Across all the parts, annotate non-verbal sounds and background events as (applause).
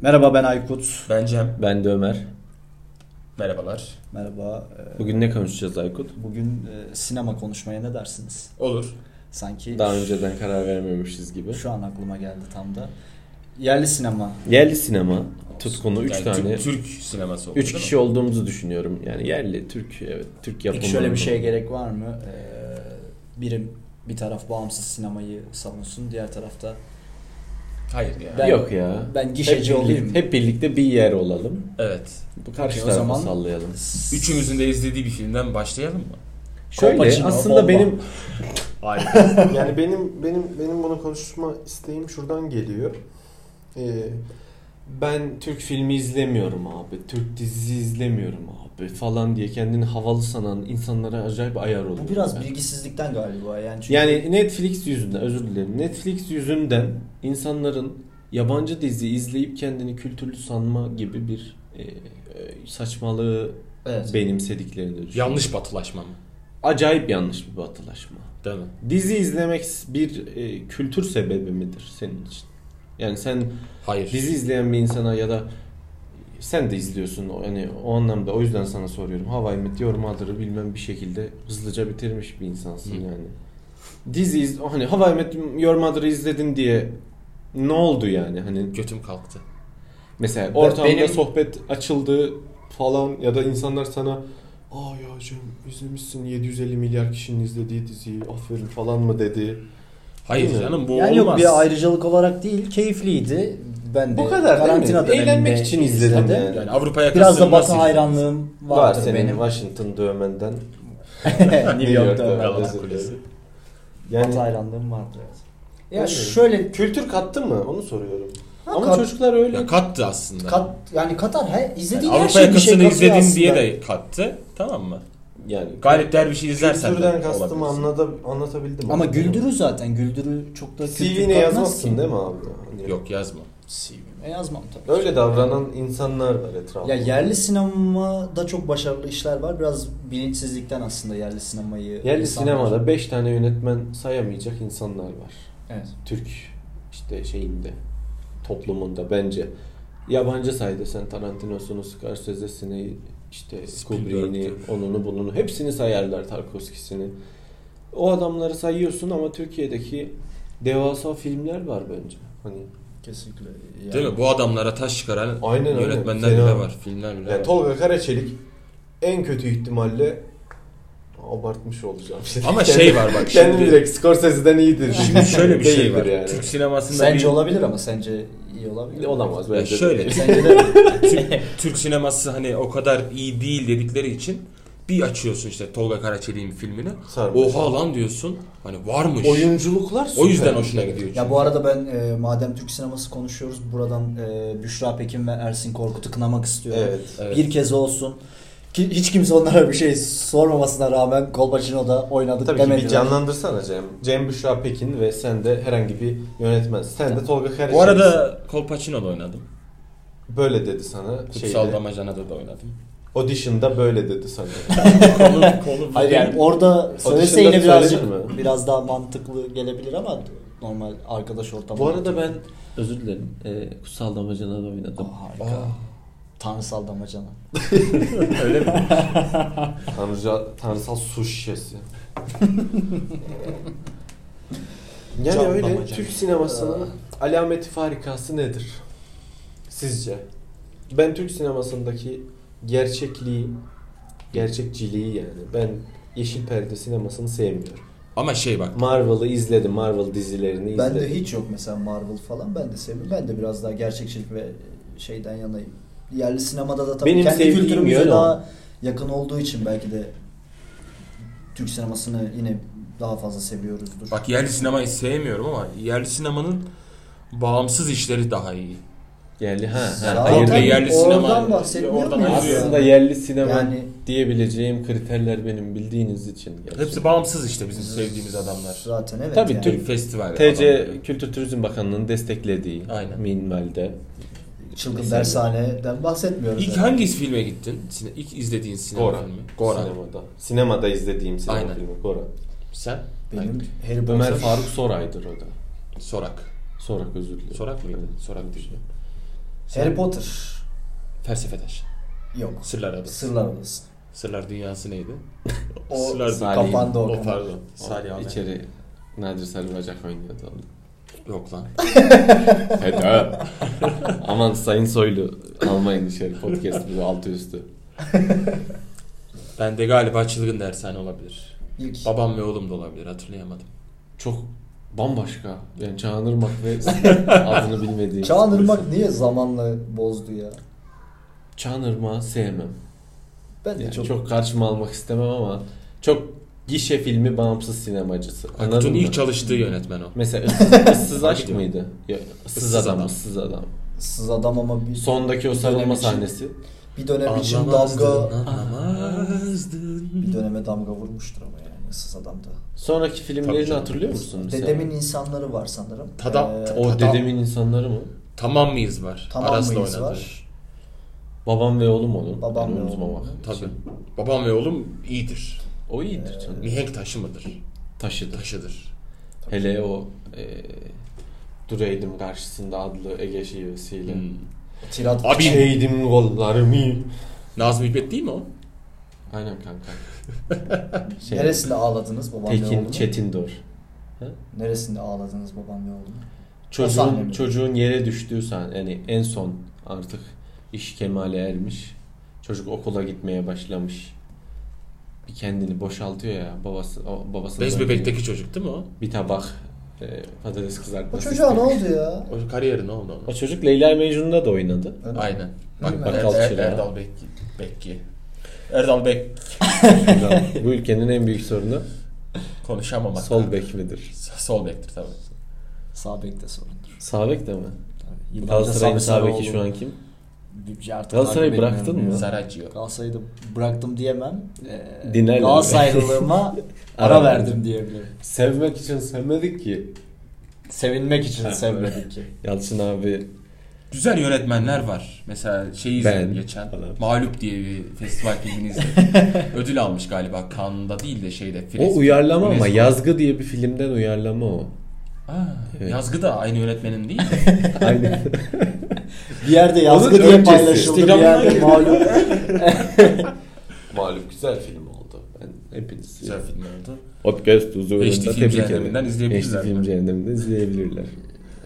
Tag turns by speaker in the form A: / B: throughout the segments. A: Merhaba ben Aykut.
B: Ben Cem.
C: Ben de Ömer.
B: Merhabalar.
A: Merhaba. e,
C: Bugün ne konuşacağız Aykut?
A: Bugün e, sinema konuşmaya ne dersiniz?
B: Olur.
A: Sanki
C: Daha önceden karar vermemişiz gibi.
A: şu an aklıma geldi tam da. Yerli sinema.
C: Yerli sinema tutkunu 3
B: Yani
C: tane
B: Türk, Türk sineması oldu.
C: 3
B: değil
C: kişi
B: mi?
C: olduğumuzu düşünüyorum. Yani yerli Türk evet Türk yapımı.
A: Peki şöyle bir şeye gerek var mı? Ee, birim bir taraf bağımsız sinemayı savunsun, diğer tarafta
B: Hayır yani.
A: Ben-
C: Yok ya.
A: ben gişeci
C: hep
A: olayım.
C: birlikte, hep birlikte bir yer olalım.
B: Evet.
C: Bu karşı
A: Peki, o
C: tarafa
A: zaman-
C: sallayalım.
B: Üçümüzün de izlediği bir filmden başlayalım mı?
C: Şöyle
A: Pacino,
C: aslında
A: Bomba.
C: benim
B: Harika.
D: Yani benim benim benim bunu konuşma isteğim şuradan geliyor. Ee, ben Türk filmi izlemiyorum abi. Türk dizisi izlemiyorum abi falan diye kendini havalı sanan insanlara acayip ayar oluyor.
A: bu biraz bilgisizlikten galiba yani. Çünkü
C: yani Netflix yüzünden özür dilerim. Netflix yüzünden insanların yabancı dizi izleyip kendini kültürlü sanma gibi bir e, e, saçmalığı
A: Evet.
C: benimsediklerini düşünüyorum.
B: Yanlış batılaşma mı?
C: Acayip yanlış bir batılaşma.
B: Değil mi?
C: Dizi izlemek bir e, kültür sebebi midir senin için? Yani sen
B: Hayır.
C: dizi izleyen bir insana ya da sen de izliyorsun o- hani o anlamda o yüzden sana soruyorum. Hawaii Meteor Mother'ı bilmem bir şekilde hızlıca bitirmiş bir insansın
B: Hı.
C: yani. Dizi iz, hani Hawaii Meteor Mother'ı izledin diye ne oldu yani? Hani
B: Götüm kalktı.
C: mesela ortamda
B: benim-
C: sohbet açıldı
D: falan ya da insanlar sana Aa ya Cem izlemişsin 750 milyar kişinin izlediği diziyi aferin falan mı dedi.
B: Hayır
D: Değil mi?
B: canım bu
A: Yani
B: olmaz.
A: yok bir ayrıcalık olarak değil, keyifliydi. Ben de
D: Bu kadar değil
A: karantina
D: mi?
A: döneminde
D: Eğlenmek için izledim
A: izledim.
D: yani.
B: Yani Avrupa'ya
A: Biraz da
B: kasılmaz
A: Batı hayranlığım
C: var,
A: vardır
C: senin
A: benim. (laughs)
C: Washington dövmenden.
A: New York'ta
C: York'ta.
A: öğrendim.
B: Galata Kulesi.
C: Yani
A: Batı hayranlığım vardır. evet. Ya
C: Yani-
A: şöyle
D: Kültür kattı mı? Onu soruyorum.
C: ama
A: kat-
C: çocuklar öyle.
B: Ya kattı aslında.
A: kat, yani Katar he, izlediğin
B: Yani
A: her
B: Avrupa
A: şey bir şey
B: yakasını
A: katıyor
B: izledin
A: aslında.
B: diye de kattı. Tamam mı?
C: Yani
B: Galip Derviş'i izlersen
D: Kültürden
B: de
D: kastımı
B: olabilir.
D: anladı, anlatabildim.
A: Ama güldürü zaten. Güldürü çok da
D: CV'ne yazmazsın değil mi abi? Hani
B: Yok yazma.
A: CV'me yazmam tabii.
D: Öyle davranan insanlar var etrafında.
A: Ya yerli sinemada çok başarılı işler var. Biraz bilinçsizlikten aslında yerli sinemayı...
C: Yerli
A: insanlar-
C: sinemada 5 tane yönetmen sayamayacak insanlar var.
A: Evet.
C: Türk işte şeyinde toplumunda bence. Yabancı say desen Tarantino'sunu, Scorsese'sini, işte
B: Spielberg'tir.
C: Kubrick'ini, onunu bununu hepsini sayarlar Tarkovski'sini. O adamları sayıyorsun ama Türkiye'deki devasa filmler var bence. Hani
A: Kesinlikle. Yani.
B: Değil mi? Bu adamlara taş çıkaran
D: Aynen öyle.
B: yönetmenler
D: Fena.
B: bile var. Filmler bile
D: Yani
B: var.
D: Tolga Karaçelik en kötü ihtimalle abartmış olacağım. Şimdi
B: Ama
D: (laughs) kendi-
B: şey var bak
D: Kendi
B: şimdi-
D: direkt Scorsese'den iyidir.
B: Şimdi
D: (laughs)
B: şöyle bir şey
D: Değildir
B: var.
D: yani.
B: Türk sinemasında
A: Sence
B: bir-
A: olabilir ama sence iyi olabilir. mi?
C: olamaz
B: Ya
C: bence. de.
B: şöyle
A: Sence de
B: Türk, Türk sineması hani o kadar iyi değil dedikleri için bir açıyorsun işte Tolga Karaçelik'in filmini.
D: Sarmış.
B: Oha lan diyorsun. Hani varmış.
D: Oyunculuklar süper.
B: o yüzden hoşuna gidiyor.
A: Ya bu arada ben e, madem Türk sineması konuşuyoruz buradan e, Büşra Pekin ve Ersin Korkut'u kınamak istiyorum.
D: Evet.
B: Evet.
A: Bir kez olsun. Ki hiç kimse onlara bir şey sormamasına rağmen Kolpaçino'da oynadık
D: Tabii ki
A: demediler.
D: bir canlandırsana Cem. Cem Büşra Pekin ve sen de herhangi bir yönetmen. Sen de Tolga Karaçelik.
B: Bu arada Kolpaçino'da oynadım.
D: böyle dedi sana.
B: Kutsal
D: Şeyde,
B: Damacana'da da oynadım.
D: audition'da böyle dedi (laughs) sana.
B: Kolum, kolum.
A: Hayır yani orada söylese
D: dışında
A: yine birazcık
D: söylenir mi?
A: biraz daha mantıklı gelebilir ama normal arkadaş ortamında.
C: Bu arada ben özür dilerim. e, Kutsal Damacana'da oynadım.
A: Aa, harika. Tanrısal damacana.
B: Öyle mi?
D: Tanrıca, tanrısal su şişesi. (laughs) yani
A: Can
D: öyle
A: damacana.
D: Türk sinemasının alameti farikası nedir? Sizce? Ben Türk sinemasındaki gerçekliği, gerçekçiliği yani. Ben Yeşil Perde sinemasını sevmiyorum.
B: Ama şey bak.
C: Marvel'ı izledim. Marvel dizilerini izledim.
A: Bende hiç yok mesela Marvel falan. Ben de seviyorum. Ben de biraz daha gerçekçilik ve şeyden yanayım. Yerli sinemada da tabii
C: Benim
A: kendi
C: sevdiğim
A: kültürümüze
C: yön o.
A: daha yakın olduğu için belki de Türk sinemasını yine daha fazla seviyoruzdur.
B: Bak yerli sinemayı sevmiyorum ama yerli sinemanın bağımsız işleri daha iyi.
C: Yerli ha.
A: Zaten
C: ha hayır,
B: Orada
C: değil.
B: yerli sinema-
A: Oradan bahsetmiyor
B: Oradan
A: muyuz
B: ayrılıyor.
C: Aslında
A: ya?
C: yerli sinema
A: Yani-
C: diyebileceğim kriterler benim bildiğiniz için. gerçi.
B: Hepsi bağımsız işte bizim sevdiğimiz adamlar.
A: Zaten evet.
C: Tabii
A: yani.
C: Türk-
B: Festival.
C: TC
B: adamları.
C: Kültür Turizm Bakanlığı'nın desteklediği
B: Aynen.
C: minimalde.
A: Çılgın dershaneden bahsetmiyoruz.
B: İlk
A: yani.
B: hangi filme gittin? Sine, ilk izlediğin sinema
D: Gora.
B: filmi. Gora.
D: Sinemada. Sinemada izlediğim sinema
B: Aynen.
D: filmi Gora.
B: Sen?
A: Benim Harry
C: Ömer
A: Potter.
C: Faruk Soray'dır o da.
B: Sorak.
C: Sorak özür dilerim.
B: Sorak mıydı? Sorak değil.
A: Harry Potter.
B: Felsefedaş.
A: Yok.
B: Sırlar Adası.
A: Sırlar Odası.
B: Sırlar Dünyası neydi?
A: O
B: Sırlar
D: Salih.
A: kapandı o.
B: O
A: kanal.
B: pardon. Salih
D: O
B: abi.
D: İçeri Nadir Sarı Bacak oynuyordu onu.
B: Yok lan.
C: (laughs)
D: Feda. Aman Sayın Soylu almayın dışarı podcast bu altı üstü.
B: Ben de galiba çılgın dershane olabilir.
A: İlk.
B: Babam ve oğlum da olabilir hatırlayamadım.
D: Çok bambaşka. Yani Çağınırmak
A: (laughs)
D: ve adını bilmediğim.
A: Çağınırmak
D: şey.
A: niye zamanla bozdu ya?
D: Çağınırmak'ı sevmem.
A: Ben de
D: Yani
A: çok,
D: çok... karşıma almak istemem ama çok gişe filmi bağımsız sinemacısı. Anladın
B: Aykut'un
D: mı?
B: ilk çalıştığı yönetmen o. (laughs)
D: Mesela ıssız, ıssız aşk mıydı? Ya, ıssız,
B: Issız
D: adam,
B: Adam.
D: ıssız adam.
A: sız adam ama bir,
D: Sondaki o
A: bir dönem
D: sarılma
A: için-
D: sahnesi.
A: Bir dönem için
B: Anlamazdın,
A: damga
B: anlamazdın.
A: bir döneme damga vurmuştur ama yani sız adamda.
D: Sonraki filmlerini
B: canım.
D: hatırlıyor musun? mesela?
A: Dedemin insanları var sanırım.
B: Tada-
A: Ee,
D: O
B: Adam-
D: dedemin insanları mı?
B: Tamam mıyız var?
A: tamam
B: Aras'la
A: mıyız
B: oynadı.
A: var.
D: Babam ve oğlum olur.
A: Babam
D: Yani
A: ve
D: unutmamak
A: oğlum.
D: için.
B: Tabii. Babam ve oğlum iyidir.
D: O iyidir canım.
A: Ee,
B: Mihenk taşı mıdır?
D: Taşıdı.
B: Taşıdır.
D: Hele o e, Dureydim karşısında adlı Ege şivesiyle.
B: Hmm.
A: Tirat
B: Abi-
D: Şeydim kollarımı.
B: Nazım Hikmet değil mi o?
D: Aynen kanka. Şey,
A: neresinde ağladınız babam ve
D: Tekin
A: oğlum?
D: Çetindor.
A: Neresinde ağladınız babam ve oğlum? sahne
D: Çocuğun,
A: mi?
D: çocuğun yere düştüğü sahne. Yani en son artık iş kemale ermiş. Çocuk okula gitmeye başlamış. Bir kendini boşaltıyor ya babası o babasından
B: Bez bebekteki çocuk değil mi o?
D: bir tabak e, patates kızartması.
A: O çocuğa ne
D: istemiş.
A: oldu ya?
B: O kariyeri ne oldu onun?
D: O çocuk Leyla Mecnun'da da oynadı.
A: Öyle mi?
B: Aynen.
A: Hı,
B: Bak, bak
D: bakkal
B: Er- Er-
D: çırağı.
B: Erdal Bekki. Bekki. Erdal Bek
D: Bu ülkenin en büyük sorunu
B: konuşamamak.
D: sol bek midir?
B: Sol bektir tabii.
A: Sağ bekte sorundur.
D: Sağ bek de mi?
A: Tabii.
D: Galatasaray'ın sağ
A: Sarı
D: beki şu
A: oldu.
D: an kim?
A: Bir- artık
D: Galatasaray'ı
A: takip
D: bıraktın
A: etmiyorum
D: mı?
A: ya.
B: Saraccio.
A: Galatasaray'ı da bıraktım diyemem. Ee,
D: Dinlerler.
A: Galatasaraylılığıma ara verdim diyebilirim.
D: Sevmek için sevmedik ki.
A: Sevinmek için
D: Ha,
A: sevmedik ki.
D: Yalçın abi
B: Güzel yönetmenler var. Mesela şeyi
D: Ben
B: izledim geçen.
D: falan.
B: Mağlup diye bir festival filmini (laughs) izledim. Ödül almış galiba. Cannes'da değil de şeyde.
D: o
B: Fres-
D: uyarlama ama
B: Fres-
D: yazgı diye bir filmden uyarlama (laughs) o.
B: Aa,
D: Evet.
B: Yazgı da aynı yönetmenin değil. mi?
D: Aynen.
A: Bir yerde yazgı
D: Onun
A: diye
D: öncesi.
A: paylaşıldı bir yerde
B: Instagram'dan
A: malum.
D: Malum güzel film oldu. Ben hepiniz
B: Güzel film oldu.
D: podcast huzurunda
B: HD film
D: tebrik ederim.
B: cehenneminden izleyebilirler.
D: HD film cehenneminden izleyebilirler.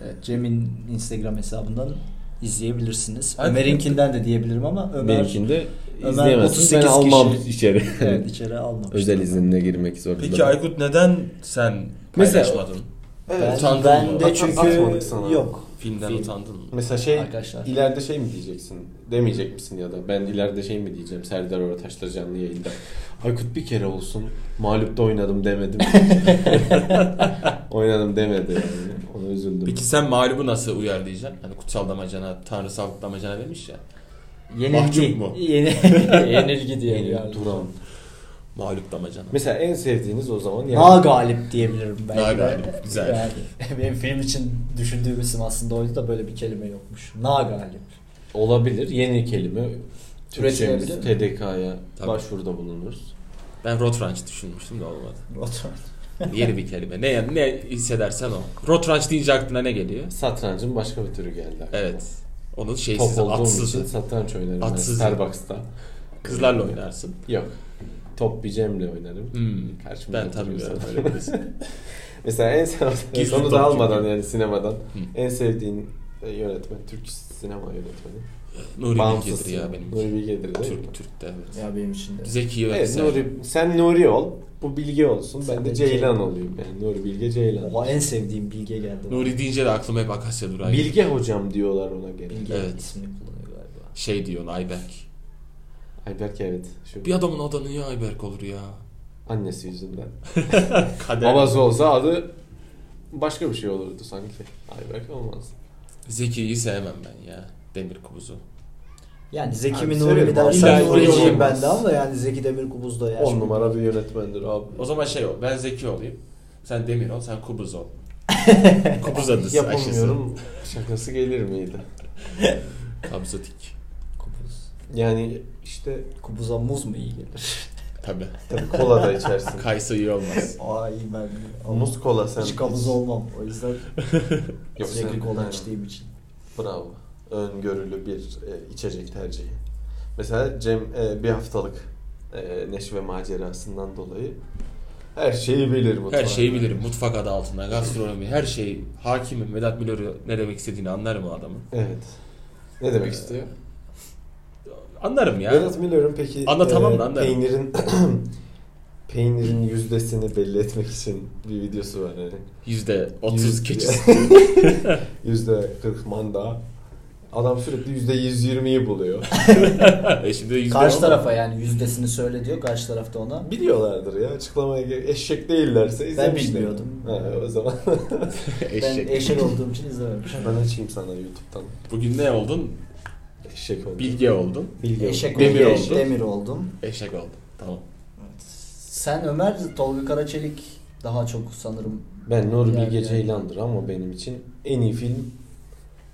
A: Evet, Cem'in Instagram hesabından izleyebilirsiniz.
B: Hadi.
A: Ömer'inkinden de diyebilirim ama Ömer
D: Benimkinde
A: Ömer
D: izleyemezsiniz. Ben
A: 38
D: almam
A: kişi.
D: içeri.
A: evet, içeri almamıştı.
D: Özel izinle girmek zorunda.
B: Peki Aykut neden sen
D: Mesela-
B: paylaşmadın?
A: Ben,
E: Evet.
B: Utandın
A: ben
B: mı?
A: de
E: At-
A: çünkü
E: atmadık sana.
A: yok
B: Filmden
A: Film.
B: utandın mı?
D: Mesela şey
A: arkadaşlar.
D: ileride şey mi diyeceksin? Demeyecek misin ya da ben ileride şey mi diyeceğim? Serdar Ortaç'la canlı yayında. Aykut bir kere olsun mağlupta oynadım demedim. oynadım demedi yani. Ona üzüldüm.
B: Peki sen mağlubu nasıl uyar diyeceksin? Hani kutsal damacana, tanrısal damacana demiş ya.
A: Yenilgi.
B: Mahcup mu?
A: Yeni,
D: (laughs)
A: yenilgi diye. Yani.
D: Duran.
B: Mağlup damacana.
D: Mesela en sevdiğiniz o zaman
A: Na galip diyebilirim belki.
B: Na
A: de.
B: galip, güzel.
A: Yani, (laughs) benim film için düşündüğüm isim aslında oydu da böyle bir kelime yokmuş. Na galip.
D: Olabilir. Yeni kelime. Türkçemiz
A: Üretilebilir
D: TDK'ya
B: Tabii.
D: başvuruda bulunuruz.
B: Ben Rotranç düşünmüştüm de olmadı. Hani
A: Otur.
B: Yeni bir kelime. Ne, ne hissedersen o. Rotranç deyince aklına ne geliyor?
D: Satrancın başka bir türü geldi. aklıma.
B: Evet. Onun
D: Top
B: şeysiz,
D: olduğum için
B: atsızı.
D: satranç oynarım. ben
B: Atsızı.
D: Starbucks'ta.
B: Kızlarla oynarsın.
D: Yok. Top bir Cem'le oynarım.
B: Hmm.
D: Karşımda
B: Ben
D: oturuyorsa
B: tanımıyorum
D: böyle.
B: öyle birisi.
D: (laughs) Mesela en sevdiğin,
B: Gizli
D: sonu
B: topçu
D: da almadan
B: gibi.
D: yani sinemadan
B: Hmm.
D: en sevdiğin e, yönetmen, Türk sinema yönetmeni.
B: Nuri
D: Bağımsız
B: Bilge'dir ya benim
D: Nuri
B: için.
D: Bilge'dir değil mi?
B: Türk, Türk de evet.
A: Ya benim için de.
B: Zeki ve
D: Evet,
B: Güzel.
D: Nuri, sen Nuri ol, bu Bilge olsun.
A: Sen
D: ben
A: de
D: de Ceylan
A: Ceylan.
D: olayım. Yani Nuri Bilge Ceylan.
A: Oha en sevdiğim Bilge geldi.
B: Nuri deyince de aklıma hep Akasya Duray.
D: Bilge hocam diyorlar ona gene.
A: Bilge
B: Evet.
A: ismini kullanıyor galiba.
B: Şey diyor Ayberk.
D: Ayberk evet. Şu
B: Bir adamın adı niye Ayberk olur ya?
D: annesi yüzünden.
B: Kader.
D: Babası olsa adı başka bir şey olurdu sanki. Ayberk olmaz.
B: Zeki'yi sevmem ben ya. Demir kubuzu.
A: Yani Zeki
D: Abi
A: mi Nuri
D: severim
A: mi
D: abi.
A: dersen
B: İlla Nuri'ciyim.
A: Nuri'ciyim ben de ama yani Zeki Demirkubuz da yani.
D: 10 numara bir yönetmendir abi.
B: O zaman şey ol. Ben Zeki olayım. Sen Demir ol. Sen kubuz ol. kubuz adısı aşısı.
D: Yapamıyorum. Şakası gelir miydi?
B: Kabzatik.
A: Kubuz.
D: Yani işte
A: Kubuza muz mu iyi gelir?
B: Tabi.
D: tabii kola da (laughs) içersin.
B: Kaysa iyi olmaz.
A: Ay ben
D: Muz kola sen.
A: hiç kabuz olmam. O yüzden
D: Yok,
A: sürekli
D: sen-
A: kola içtiğim için.
D: Bravo. öngörülü bir e, içecek tercihi. Mesela Cem e, bir haftalık e, neşve macerasından dolayı her şeyi bilir mutfağında.
B: Her şeyi bilirim. Mutfak adı altında. Gastronomi. Her şeyi. Hakimim. Vedat Milor'u ne demek istediğini anlarım o adamın.
D: Evet. Ne demek
B: Ee,
D: istiyor?
B: Anlarım ya.
D: Vedat Milor'un peki e,
B: Anlatamam da anlarım.
D: peynirin (clears throat) peynirin yüzdesini belli etmek için bir videosu var. hani. Yani.
B: Yüzde otuz
D: Yüz-
B: keçisi.
D: (laughs) Yüzde 40 manda. Adam sürekli yüzde 120'yi buluyor.
B: (laughs) E Şimdi yüzde
A: Karşı
B: on. (laughs)
A: tarafa yani yüzdesini söyle diyor. Karşı tarafta ona.
D: Biliyorlardır ya açıklamaya gerek. Eşek değillerse izlemişler.
A: bilmiyordum.
D: Ha,
A: (laughs)
D: o zaman
A: Ben
B: Eşek.
A: eşek olduğum için izlememişim.
D: ben açayım sana YouTube'dan.
B: Bugün ne oldun?
D: Eşek oldu.
B: Bilge oldun.
D: Bilgi
A: Eşek
D: oldu.
B: Demir
A: demir
B: oldu.
A: oldum. Demir oldum.
B: Eşek oldun. Tamam.
A: Sen Ömer Tolga Karaçelik daha çok sanırım.
D: Ben Nur
A: Yani-
D: Bilge Ceylan'dır ama benim için en iyi film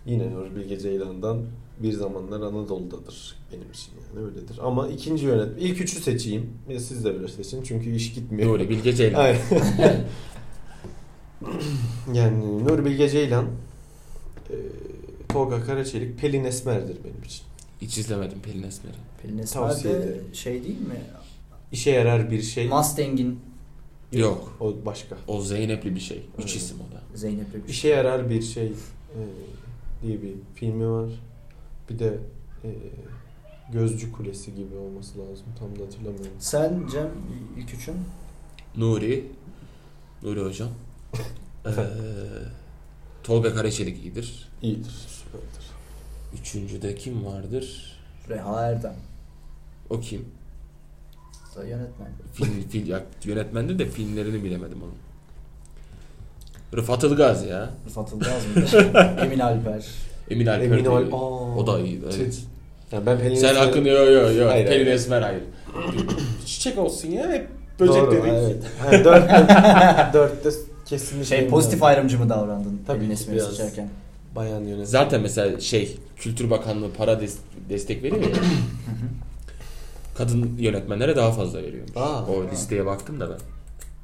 D: yine Nur Bilge Ceylan'dan Bir Zamanlar Anadolu'dadır benim için yani öyledir. Ama ikinci yönetmen, ilk üçü seçeyim. Ya siz de böyle seçin çünkü iş gitmiyor.
B: Doğru. Bilge Ceylan.
D: Aynen. (laughs) yani Nur Bilge Ceylan, e, Tolga Karaçelik, Pelin Esmer'dir benim için.
B: Hiç izlemedim Pelin Esmer'i.
A: Pelin
D: Tavsiye
A: Esmer'de
D: ederim.
A: şey değil mi?
D: İşe yarar bir şey.
A: Mustang'in
B: Yok.
D: o başka.
B: O Zeynep'li bir şey. Üç
D: Evet.
B: isim o da.
A: Zeynep'le bir şey.
D: İşe yarar bir şey e, diye bir filmi var. Bir de e, Gözcü Kulesi gibi olması lazım. Tam da hatırlamıyorum.
A: Sen Cem ilk üçün.
B: Nuri. Nuri hocam. Ee, Tolga Karaçelik iyidir.
D: İyidir, süperdir.
B: Üçüncüde kim vardır?
A: Reha Erdem.
B: O kim?
A: Da yönetmen.
D: (laughs)
B: Film, film, ya, yönetmendir de filmlerini bilemedim onun. Rıfat Ilgaz ya.
A: Rıfat Ilgaz mı? (laughs) Emin Alper.
B: Emin Alper.
D: Emin
B: de-
D: Ol- Aa.
B: O da iyiydi. Evet.
D: Tüt. Yani ben Pelin
B: Sen
D: Esmer'in-
B: hakkını yo yo yo.
D: Hayır,
B: Pelin
D: hayır.
B: Esmer
D: (clears throat)
B: hayır. Çiçek olsun ya. Hep böcek
D: Doğru,
B: dedik.
D: evet. Yani dörtte, (laughs) dörtte kesinlikle.
A: Şey pozitif ayrımcı mı davrandın?
D: Tabii
A: Tabii Pelin
D: ki
A: Esmer'i
D: biraz.
A: seçerken.
D: Bayan yönetmen.
B: Zaten mesela şey Kültür Bakanlığı para des- destek veriyor ya. kadın yönetmenlere daha fazla veriyormuş.
D: Aa.
B: o listeye baktım da ben.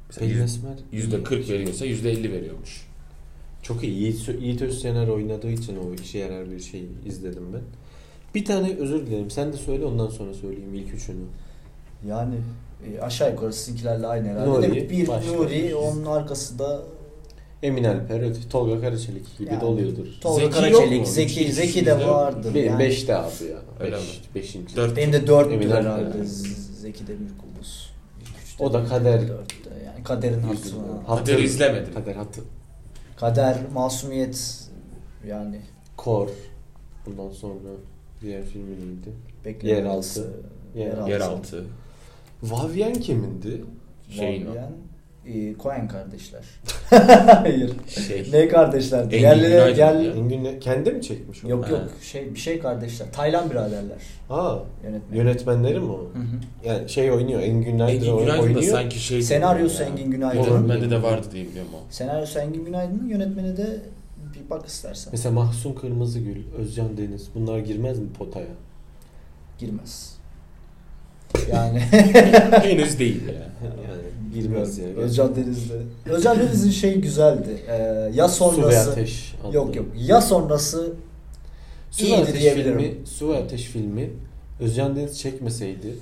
B: Mesela
D: Pelin
B: yüz-
D: Esmer.
B: yüzde 40 veriyorsa yüzde 50 veriyormuş.
D: Çok iyi. Yiğit, Sö- Yiğit Özsener oynadığı için o işe yarar bir şey izledim ben. Bir tane özür dilerim. Sen de söyle ondan sonra söyleyeyim ilk üçünü.
A: Yani e, aşağı yukarı sizinkilerle aynı herhalde.
D: Nuri,
A: Demek bir
D: başka.
A: Nuri, onun arkası da
D: Emin Alper, öte- Tolga Karaçelik gibi
A: Yani
D: de oluyordur.
A: Tolga
B: Zeki yok mu?
A: Karaçelik, Zeki,
B: Hiç
A: Zeki de
B: yüzde-
A: vardır.
D: Benim
A: yani.
D: beşte abi ya.
B: Öyle
D: Beş, beşinci.
B: 4
A: Benim de dört
D: Emin
A: herhalde.
D: Alper.
A: Z- Zeki Demirkubuz. İlk üçte,
D: O da kader.
A: dörtte. Yani kaderin hatırı.
B: Kader izlemedim.
D: Kader hattı.
A: Kader, masumiyet yani
D: Kor. Bundan sonra diğer filmi neydi?
A: bekleyen
D: Yeraltı.
A: arası,
D: Yer-
B: yeraltı
D: Vavyen kimindi?
B: şeyin o.
A: Valvian, e, Coen kardeşler. (laughs) Hayır.
B: Şey.
A: Ne kardeşler?
B: Engin
A: Diğerleri
B: Günaydın
A: diğer
B: ya.
D: Engin kendi mi çekmiş onu?
A: Yok yok
B: Ha.
A: şey bir şey kardeşler. Taylan biraderler
D: Aa,
A: yönetmen.
D: yönetmenleri mi o?
A: Hı hı.
D: Yani şey oynuyor, Engin Günaydın
B: Engin Günaydın da
D: oynuyor.
B: sanki şey.
A: Senaryosu Engin Günaydın.
B: Olur. Bende de vardı diye biliyorum o.
A: Senaryosu Engin Günaydın'ın yönetmeni de bir bak istersen.
D: Mesela Mahsun Kırmızıgül, Özcan Deniz bunlar girmez mi potaya?
A: Girmez. Yani (laughs)
B: Henüz değil ya.
D: (laughs) Yani girmez ya.
A: Özcan Denizli. Özcan Deniz'in şey güzeldi. Ee, ya
D: Su ve
A: sonrası
D: Ateş adlı.
A: Yok yok. Ya sonrası
D: Su ve
A: İyiydi
D: Ateş
A: diyebilirim.
D: filmi, Su ve Ateş filmi Özcan Deniz çekmeseydi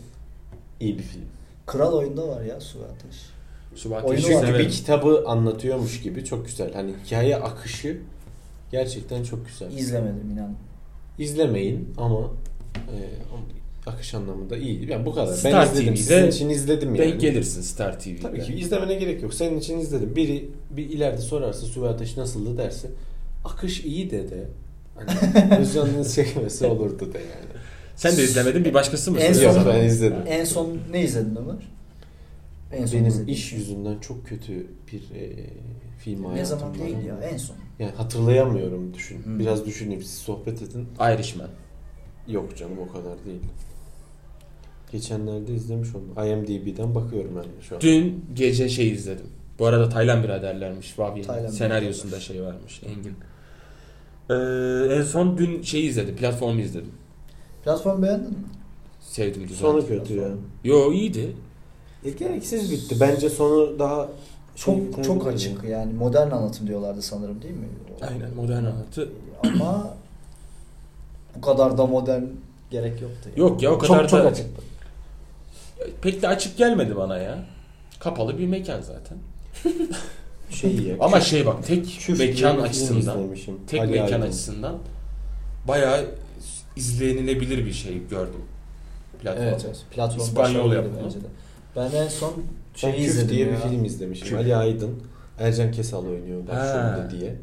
D: iyi bir film.
A: Kral oyunda var ya Su ve Ateş.
B: Şubat
A: Oyunu
B: Teşekkür
A: var.
D: Çünkü
B: ederim.
D: bir kitabı anlatıyormuş gibi çok güzel. Hani hikaye akışı gerçekten çok güzel.
A: İzlemedim inan.
D: İzlemeyin ama e, akış anlamında iyi. Yani bu kadar.
B: Star
D: ben izledim.
B: TV'de
D: Sizin için izledim yani.
B: Denk gelirsin Star TV'de.
D: Tabii ki izlemene gerek yok. Senin için izledim. Biri bir ileride sorarsa Süvey Ateş nasıldı derse akış iyi de de
A: (laughs)
D: hani Özcan'ın çekmesi olurdu de yani.
B: Sen de izlemedin bir başkası mı?
A: En
B: söylüyor?
A: son-
D: Yok ben izledim.
A: En son ne izledin Ömer? En son
D: Benim
A: izlediğin.
D: iş yüzünden çok kötü bir e, film hayatım
A: Ne zaman
D: var.
A: değil ya en son.
D: Yani hatırlayamıyorum düşün.
A: Hmm.
D: Biraz düşüneyim siz sohbet edin.
B: Irishman.
D: Yok canım o kadar değil. Geçenlerde izlemiş oldum. IMDB'den bakıyorum ben de şu an.
B: Dün gece şey izledim. Bu arada Taylan biraderlermiş Vavi'nin
A: Taylan
B: senaryosunda şey varmış Engin. Ee, en son dün şey izledim. Platformu izledim.
A: Platform beğendin mi?
B: Sevdim güzel.
D: Sonu kötü ya.
B: Yo iyiydi.
D: E, gereksiz bitti. Bence sonu daha şey,
A: Çok çok açık yani modern anlatım diyorlardı sanırım değil mi? O-
B: Aynen modern anlatı.
A: Ama Ee, Bu kadar da modern gerek yoktu. yani.
B: Yok ya o kadar
F: Çok çok
B: da
F: açık.
B: pek de açık gelmedi bana ya. Kapalı bir mekan zaten.
D: Şey ya.
B: Ama şey bak tek
D: Küf diye
B: mekan
D: bir film
B: açısından
D: izlemişim.
B: tek
D: Ali
B: mekan
D: Aydın.
B: açısından bayağı izlenilebilir bir şey gördüm. Platform.
A: Evet, evet. Platform
B: İspanyol
A: başarılıydı
B: yapımı.
A: bence de. Ben en son
D: Ben
A: şeyi
D: Küf
A: izledim
D: diye
A: ya.
D: bir Şey, film izlemişim.
B: Küf.
D: Ali Aydın, Ercan Kesal oynuyor başrolünde
B: Ha.
D: diye.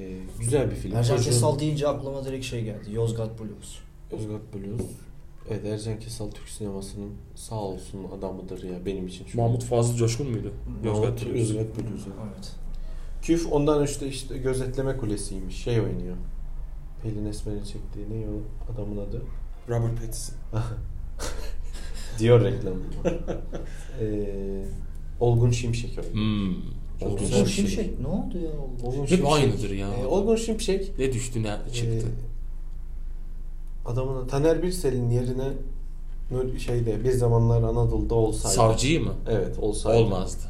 D: Ee, güzel bir film.
A: Ercan
D: Çocuğun-
A: Kesal deyince aklıma direkt şey geldi. Yozgat Blues.
D: Yozgat Blues. Evet Ercan Kesal Türk sinemasının sağ olsun adamıdır ya benim için. Şu
B: Mahmut Fazıl Coşkun muydu? Yozgat
D: Yozgat
B: Blues.
D: Yozgat Blues. evet.
A: Evet.
D: Küf ondan işte işte gözetleme kulesiymiş. Şey oynuyor. Pelin Esmer'in çektiği ne o adamın adı?
B: Robert Pattinson.
D: (laughs)
B: (laughs)
D: Diyor reklamında. ee, Olgun Şimşek oynuyor.
B: Hmm.
D: Çok
B: Olgun
D: güzel
A: Olgun
D: bir şey.
A: Şimşek ne oldu ya? Olgun
D: Olgun
B: Hep
D: Şimşek-
B: aynıdır ya.
D: Ee, Olgun Şimşek
B: Ne düştü ne Hmm. E, çıktı.
D: ee, adamın Taner Birsel'in yerine Nur- şeyde bir zamanlar Anadolu'da olsaydı.
B: Savcıyı mı?
D: Evet olsaydı.
B: Olmazdı.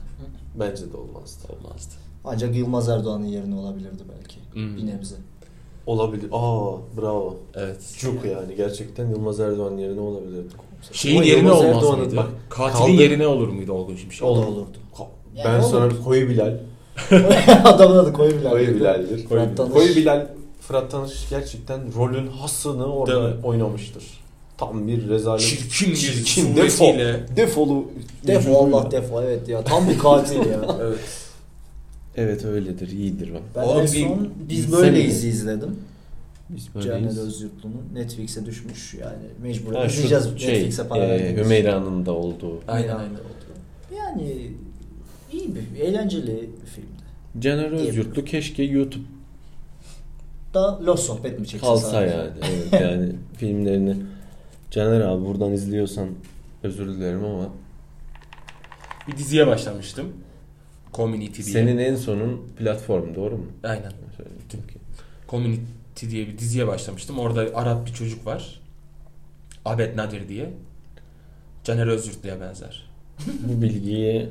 D: Bence de olmazdı.
B: Olmazdı.
A: Ancak Yılmaz Erdoğan'ın yerine olabilirdi belki.
B: Hmm.
A: Bir nebze.
D: Olabilir. Aa bravo.
B: Evet.
D: Cuk yani gerçekten Yılmaz Erdoğan yerine olabilirdi.
B: Şeyin
D: Ama
B: yerine
D: Yılmaz
B: olmaz
D: Erdoğan'ın
B: mıydı?
D: bak,
B: Katilin
D: kaldı-
B: yerine olur muydu Olgun Şimşek?
A: O da olurdu.
D: Ka-
A: Yani
D: ben
A: olur.
D: sana Koyu Bilal.
A: (laughs) Adamın adı Koyu Bilal.
D: Koyu Bilal'dir.
A: Fırat
D: Koyu, Bilal.
A: Tanış.
D: Koyu Bilal. Fırat Tanış gerçekten rolün hasını orada
B: Değil mi?
D: oynamıştır. Tam bir rezalet.
B: Çirkin bir
D: Çirkin,
B: suretiyle.
D: Defolu.
A: Defo
D: vücuduyla.
A: Allah defo evet ya tam bir katil ya.
B: Evet.
C: Evet öyledir, iyidir bak.
A: Ben
B: Oğlum
A: en
B: bir-
A: son Biz
C: sen
A: Böyleyiz izledim.
C: Biz
A: Caner
C: böyleyiz.
A: Özyurtlu'nun Netflix'e düşmüş yani mecbur
C: Ha, şu
A: izleyeceğiz
C: şey,
A: Netflix'e para
C: e,
A: verdiğimiz.
C: Hümeyra'nın da olduğu.
B: Aynen,
A: Hümeyra
B: aynen.
A: oldu. Yani iyi bir eğlenceli bir filmdi.
C: Caner Özyurtlu keşke YouTube
A: Da loş sohbet mi çeksin
C: kalsa
A: sadece? (laughs)
C: yani. Evet, yani filmlerini. Caner abi buradan izliyorsan özür dilerim ama
B: Bir diziye başlamıştım. Community diye.
C: senin en sonun platform doğru mu?
B: Aynen.
C: Söyledim ki.
B: Community diye bir diziye başlamıştım. Orada Arap bir çocuk var. Abed Nadir diye. Caner Özgürtlü'ye benzer.
C: Bu bilgiye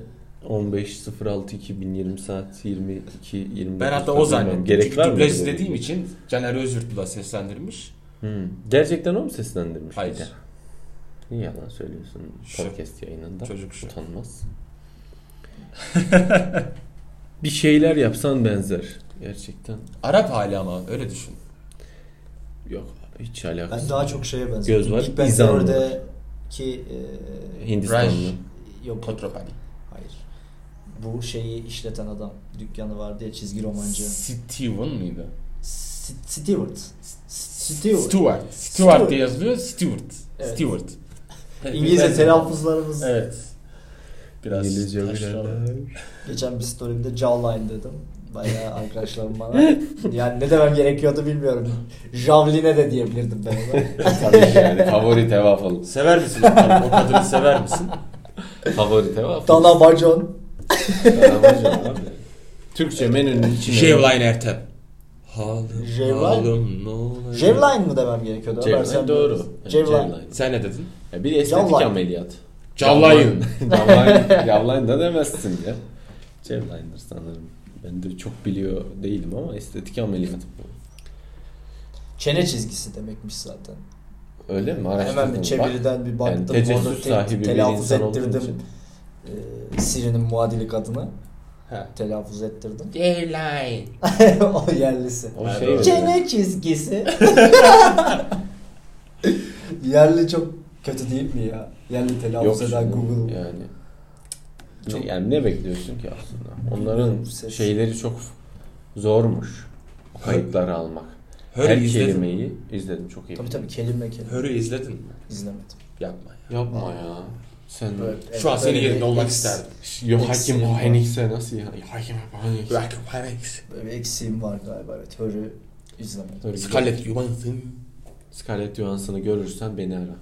C: 15.06.2020 saat 22 20
B: Ben hatta o zannettim.
C: Gerek
B: Çünkü
C: var mı?
B: dublaj izlediğim için Caner Özgürtlü'ye seslendirmiş.
C: Hı. Hmm. Gerçekten o mu seslendirmiş?
B: Hayır.
C: bize? Niye yalan söylüyorsun
B: Şu.
C: podcast yayınında?
B: Çocuk şu.
C: Utanmaz. (laughs) bir şeyler yapsan benzer. Gerçekten.
B: Arap hali ama öyle düşün.
C: Yok abi hiç alakası
A: Ben
C: yok.
A: daha çok şeye benziyorum.
C: Göz var,
A: Big Bang
C: izan var.
A: Theory'deki e,
C: Hindistanlı.
B: Raj.
A: yok
B: Kotropani.
A: hayır. Bu şeyi işleten adam dükkanı vardı ya çizgi romancı.
B: Steven mıydı?
A: S- Stewart. S- Stewart.
B: Stuart. Stuart
A: Stewart.
B: diye yazılıyor. Stewart.
A: Evet.
B: Stewart.
A: İngilizce telaffuzlarımız.
B: Evet. Biraz
C: İngilizce
B: taşralı.
C: bilenler.
A: Geçen bir story'imde jawline dedim. Bayağı (laughs) arkadaşlarım bana. Yani ne demem gerekiyordu bilmiyorum. Javline de diyebilirdim ben ona.
C: (laughs) Tabii yani favori tevafıl.
B: Sever misin? o kadını? o kadını sever misin?
C: Favori tevafıl.
A: Dana Bacon.
C: Dalabacı abi. Türkçe menünün içine.
B: Jevline Ertem. Halım,
A: Jevline?
B: halım ne olur.
A: Jawline mı demem gerekiyordu? Ömer,
C: Jevline
A: sen
C: doğru.
A: Jawline.
B: Sen ne dedin?
C: Ya bir estetik
A: Jawline.
C: ameliyat.
B: (laughs) Jawline.
C: Jawline. Jawline da demezsin ya. Jawline'dır sanırım. Ben de çok biliyor değilim ama estetik ameliyat bu.
A: Çene çizgisi demekmiş zaten.
C: Öyle mi? Araştırdın
A: Hemen bir
C: mı?
A: çeviriden
C: Bak,
A: bir baktım.
C: yani
A: orada
C: tecessüs
A: te-
C: sahibi bir
A: telaffuz
C: insan olduğun
A: ettirdim.
C: için.
A: Ee, Siri'nin muadili kadını
B: Ha.
A: telaffuz ettirdim. (laughs)
B: Jevline.
A: o yerlisi.
C: O
B: Ben
C: şey
B: de-
C: mi?
A: Çene çizgisi. (laughs) Yerli çok kötü değil mi ya? Yerli telaffuz eden
C: canım,
A: Google.
C: Yani.
A: Çok-
C: Ne, yani ne bekliyorsun ki aslında? Onların
A: Ses.
C: şeyleri çok zormuş. O Kayıtları almak.
B: Hör'ü
C: Her
B: izledin. mi?
C: kelimeyi izledim çok iyi.
A: Tabii tabii kelime kelime.
B: Hör'ü izledin mi?
A: İzlemedim.
B: Yapma ya.
D: Yapma ya. Sen
A: Evet, evet,
B: Şu an senin
A: böyle
B: yerinde
A: bir
B: olmak
A: eks-
B: isterdim.
D: Yo
A: Eksiğim
D: hakim
A: var.
D: Henix'e nasıl ya? Yo, Hakim Henix.
B: Rock Panics.
A: Böyle bir eksiğim var galiba evet. Hör'ü izlemedim.
C: Öyle bir-
B: Scarlett Johansson.
C: Scarlett Johansson'ı görürsen beni ara.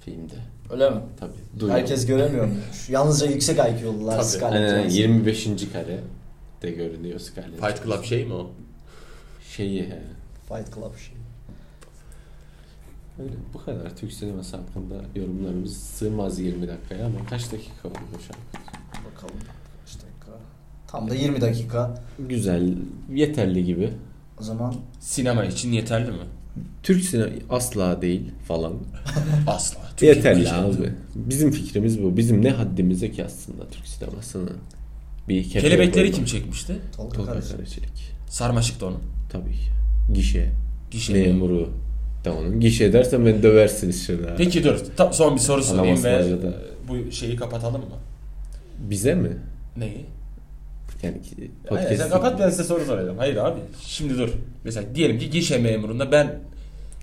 C: Filmde.
A: Öyle mi?
C: Tabii. Duyuyor.
A: Herkes göremiyormuş. Yalnızca yüksek IQ'lular
B: Tabii.
A: Scarlett
C: Aynen, aynen.
A: Johansson.
C: 25. kare de görünüyor Scarlett.
B: Fight Club şey mi o?
C: Şeyi he.
A: Fight Club şey.
C: Öyle bu kadar. Türk sineması hakkında yorumlarımız sığmaz 20 dakikaya ama kaç dakika oldu şu an?
A: Bakalım. Kaç dakika? Tam da 20 dakika.
C: Güzel, yeterli gibi.
A: O zaman
B: Sinema için yeterli mi?
A: Hı.
C: Türk sinema asla değil falan.
B: Asla.
C: Yeter ya abi. Bizim fikrimiz bu. Bizim ne haddimize ki aslında Türk sinemasını. Bir kefeye
B: Kelebekleri
C: koymak.
B: kim çekmişti?
A: Tolga
C: Tolga
A: Karacı.
C: Karaçelik.
B: Sarmaşık da onun.
C: Tabii ki. Gişe.
B: Gişe.
C: Memuru. Da onun. Gişe dersen beni döversiniz şimdi. ha.
B: Peki dur. ta- son bir soru sorayım ve e,
C: Alamazlar ya da.
B: bu şeyi kapatalım mı?
C: Bize mi?
B: Neyi?
C: Yani ki-
B: Hayır, sen
C: podcast.
B: kapat ben size soru soracağım. Hayır abi. Şimdi dur. Mesela diyelim ki gişe memurunda ben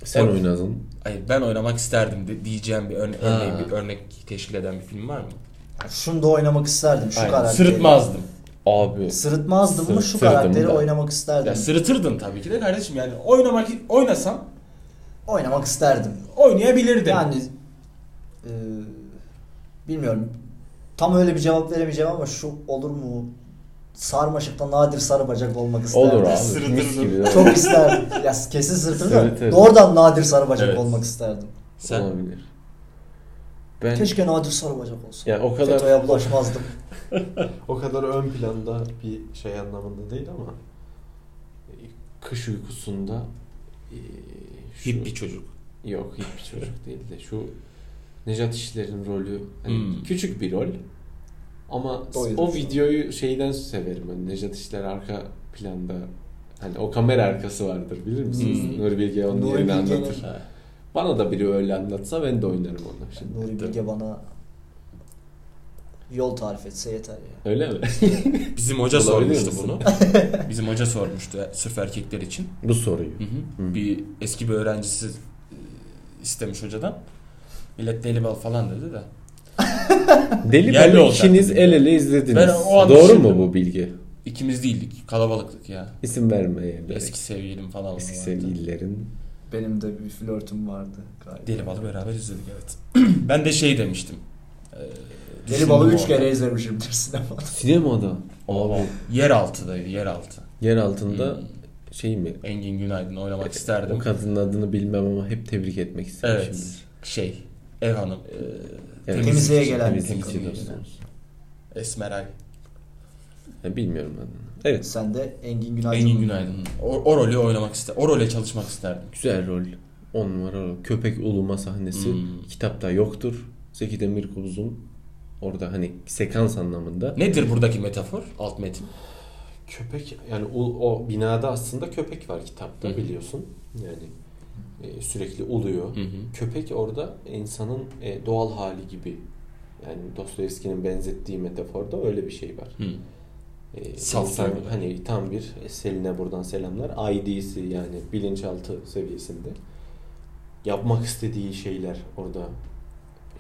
C: Sen
B: Or-
C: oynadın.
B: hayır ben oynamak isterdim de, diyeceğim bir örne-
C: Ha.
B: örneğin bir örnek teşkil eden bir film var mı?
A: Şunu da oynamak isterdim şu
C: Aynen.
A: karakteri.
B: Sırıtmazdım.
C: Abi.
A: Sırıtmazdım mı şu
C: Sırıtırdım
A: karakteri
C: da.
A: oynamak isterdim.
B: Ya sırıtırdın tabii ki de kardeşim yani oynamak oynasam
A: oynamak isterdim.
B: oynayabilirdim.
A: Yani e, bilmiyorum. Tam öyle bir cevap veremeyeceğim ama şu olur mu? Sarmaşıkta nadir sarıbacak olmak isterdim.
C: Olur abi.
B: Sırıtırdım.
C: Mis gibi.
A: Çok isterdim. ya kesin sırtını da
C: Sırıtırdım.
A: doğrudan nadir sarıbacak
B: Evet.
A: olmak isterdim.
B: Sen
C: Olabilir. Ben
A: Keşke nadir sarıbacak olsa.
C: yani o kadar
A: FETÖ'ye bulaşmazdım.
D: O kadar ön planda bir şey anlamında değil ama e, kış uykusunda e, şu-
B: hip bir çocuk.
D: Yok hiçbir çocuk (laughs) değil de şu Nejat İşler'in rolü hani
B: Hmm.
D: küçük bir rol ama
A: Doyurucu.
D: o videoyu şeyden severim hani Nejat İşler arka planda hani o kamera arkası vardır bilir misiniz?
B: Hmm.
D: Nuri Bilge onun
A: Nuri
D: yerini
A: Bilge'nin-
D: anlatır. Bana da biri öyle anlatsa ben de oynarım onu şimdi.
A: Nuri Bilge bana yol tarif etse yeter ya.
D: Öyle mi?
B: Bizim hoca
D: Olabilir
B: sormuştu
D: misin?
B: bunu. Bizim hoca sormuştu sırf erkekler için.
C: bu soruyu.
B: Hı hı.
C: Hı.
B: Bir eski bir öğrencisi e, istemiş hocadan. Millet deli bal falan dedi de.
C: Deli
B: Yerli
C: ben
B: olacak.
C: ikiniz el ele izlediniz.
B: Ben o an
C: Doğru
B: düşündüm.
C: mu bu bilgi?
B: İkimiz değildik. Kalabalıktık ya.
C: İsim vermeyelim.
B: Eski sevgilim falan
C: Eski
B: vardı.
C: sevgililerin.
A: Benim de bir flörtüm vardı galiba.
B: Deli balı beraber izledik evet. (clears throat) ben de şey demiştim. Ee,
A: Deli Balı 3
B: düşündüm orada.
A: kere izlemişimdir sinemada.
C: Sinemada. Abi.
B: Yeraltı'daydı yeraltı.
C: Yer altında
B: Hmm.
C: şey mi?
B: Engin Günaydın oynamak
C: O
B: isterdim.
C: kadının adını bilmem ama hep tebrik etmek istedim
B: Evet.
C: şimdi.
B: Şey ev hanım. e,
C: Evet.
A: Temizliğe gelen bir
C: Temizlikçi
B: kadın.
C: dostumuz.
B: e, Esmeray.
C: Ya bilmiyorum adını. Evet.
A: Sen de Engin Günaydın.
B: Engin Günaydın. O, o rolü oynamak ister. O role çalışmak isterdim.
C: Güzel rol. 10 numara rol. Köpek uluma sahnesi.
B: Hmm.
C: Kitapta yoktur. Zeki Demirkubuz'un orada hani sekans anlamında.
B: Nedir buradaki metafor? Alt metin.
D: Köpek yani o, o binada aslında köpek var kitapta
B: Hı hı.
D: biliyorsun. Yani e, sürekli uluyor.
B: Hı hı.
D: Köpek orada insanın e, doğal hali gibi. Yani Dostoyevski'nin benzettiği metaforda öyle bir şey var.
B: Hı.
D: E,
B: Saf
D: insan
B: duygular.
D: hani tam bir Selin'e buradan selamlar. ID'si yani bilinçaltı seviyesinde. Yapmak istediği şeyler orada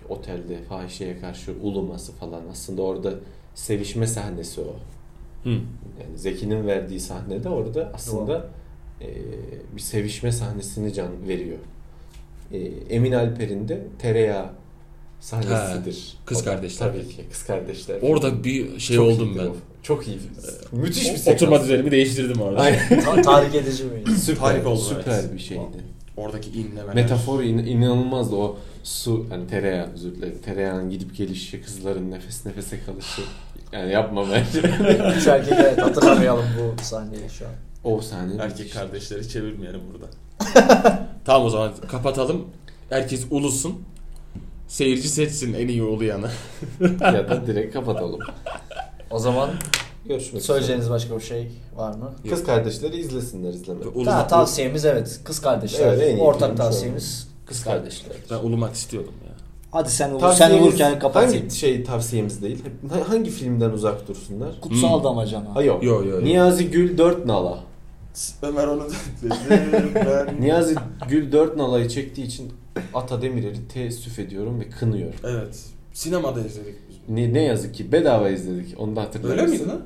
D: otelde fahişeye karşı uluması falan aslında orada sevişme sahnesi o.
B: Hı.
D: Yani Zeki'nin verdiği sahnede orada aslında e, bir sevişme sahnesini can veriyor. E, Emin Alper'in de tereyağı sahnesidir.
B: Ha, Kız
D: O da-
B: Kardeşler.
D: Tabii ki kız kardeşler.
B: Orada bir şey
D: Çok
B: oldum
D: iyidir
B: ben. Ee,
D: o. Çok iyi. Müthiş bir sekans.
B: Oturma düzenimi değiştirdim orada. (laughs)
D: Aynen.
A: (laughs) Ta- tahrik edici miydi?
D: Süper,
B: Harika oldu,
D: süper
B: evet.
D: bir şeydi.
B: Oradaki inlemeler.
D: Metafor in- inanılmazdı o su hani tereyağı özür dilerim. Tereyağının gidip gelişi, kızların nefes nefese kalışı. Yani yapma
B: (laughs)
D: bence.
A: Üç erkek evet hatırlamayalım bu sahneyi şu an.
D: o sahne.
B: Erkek kardeşleri çevirmeyelim burada. (laughs) tamam o zaman kapatalım. Herkes ulusun. Seyirci seçsin en iyi uluyanı.
D: ya da direkt kapatalım.
A: O zaman
D: Görüşmek üzere.
A: söyleyeceğiniz başka bir şey var mı?
D: Kız kardeşleri izlesinler izlemek.
B: Uluma-
A: Ta, tavsiyemiz evet kız kardeşler.
D: Evet, en iyi film şu
A: Ortak
D: an.
A: tavsiyemiz kız
D: Kız
A: kardeşler.
D: kardeşler.
B: Ben ulumak istiyordum ya.
A: Hadi sen olur, sen
D: Tavsiyemiz-
A: olurken kapat.
D: Hangi şey tavsiyemiz değil? Hep- Hangi filmden uzak dursunlar?
A: Kutsal
B: Hmm.
A: damacana.
D: Ha yok.
B: Yo, yo, yo.
D: Niyazi Gül 4 nala.
B: Ömer onu dedi. ben...
D: Niyazi Gül 4 nalayı çektiği için Ata Demirer'i teessüf ediyorum ve kınıyorum.
B: Evet. Sinemada izledik biz.
D: Ne, ne yazık ki bedava izledik. Onu da hatırlar
B: Öyle
D: mısın?
B: miydi lan?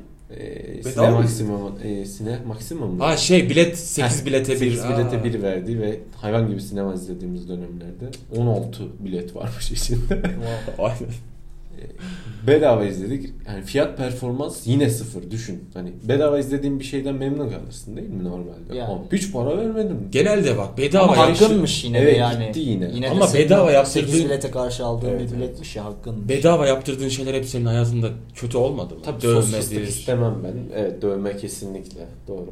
B: Bedava
D: Ee, Sine
B: mıydı?
D: Maksimum, e, Sine Maksimum mu?
B: Ha şey bilet 8 bilete 1.
D: 8 bilete 1 verdi ve hayvan gibi sinema izlediğimiz dönemlerde 16 bilet varmış içinde.
A: Wow.
B: Aynen.
D: bedava izledik. Yani fiyat performans yine sıfır düşün. Hani bedava izlediğin bir şeyden memnun kalırsın değil mi normalde?
A: Yani.
D: Ama hiç para vermedim.
B: Genelde bak bedava
A: Ama
B: ya.
A: hakkınmış yine de
D: Evet,
A: yani.
D: gitti yine.
A: de
B: Ama
A: sekiz-
B: bedava yaptırdığın-
A: sekiz bilete karşı aldığın
D: Evet,
A: bir
D: evet.
A: biletmiş ya hakkın.
B: Bedava yaptırdığın şeyler hep senin hayatında kötü olmadı mı?
D: Tabii sos fıstık
B: Dövmedir.
D: istemem ben. Evet dövme kesinlikle. Doğru.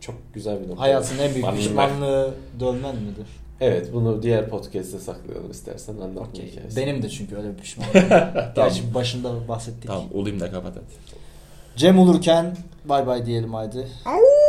D: çok güzel bir nokta.
A: Hayatının en büyük
D: Bana
A: pişmanlığı dönmen midir?
D: Evet bunu diğer podcast'te saklayalım istersen anlatma hikayesi.
A: Benim de çünkü öyle bir pişmanlığım. Gerçi başında bahsettik.
B: Tamam olayım da kapat hadi.
A: Cem olurken bay bay diyelim haydi.
F: Au!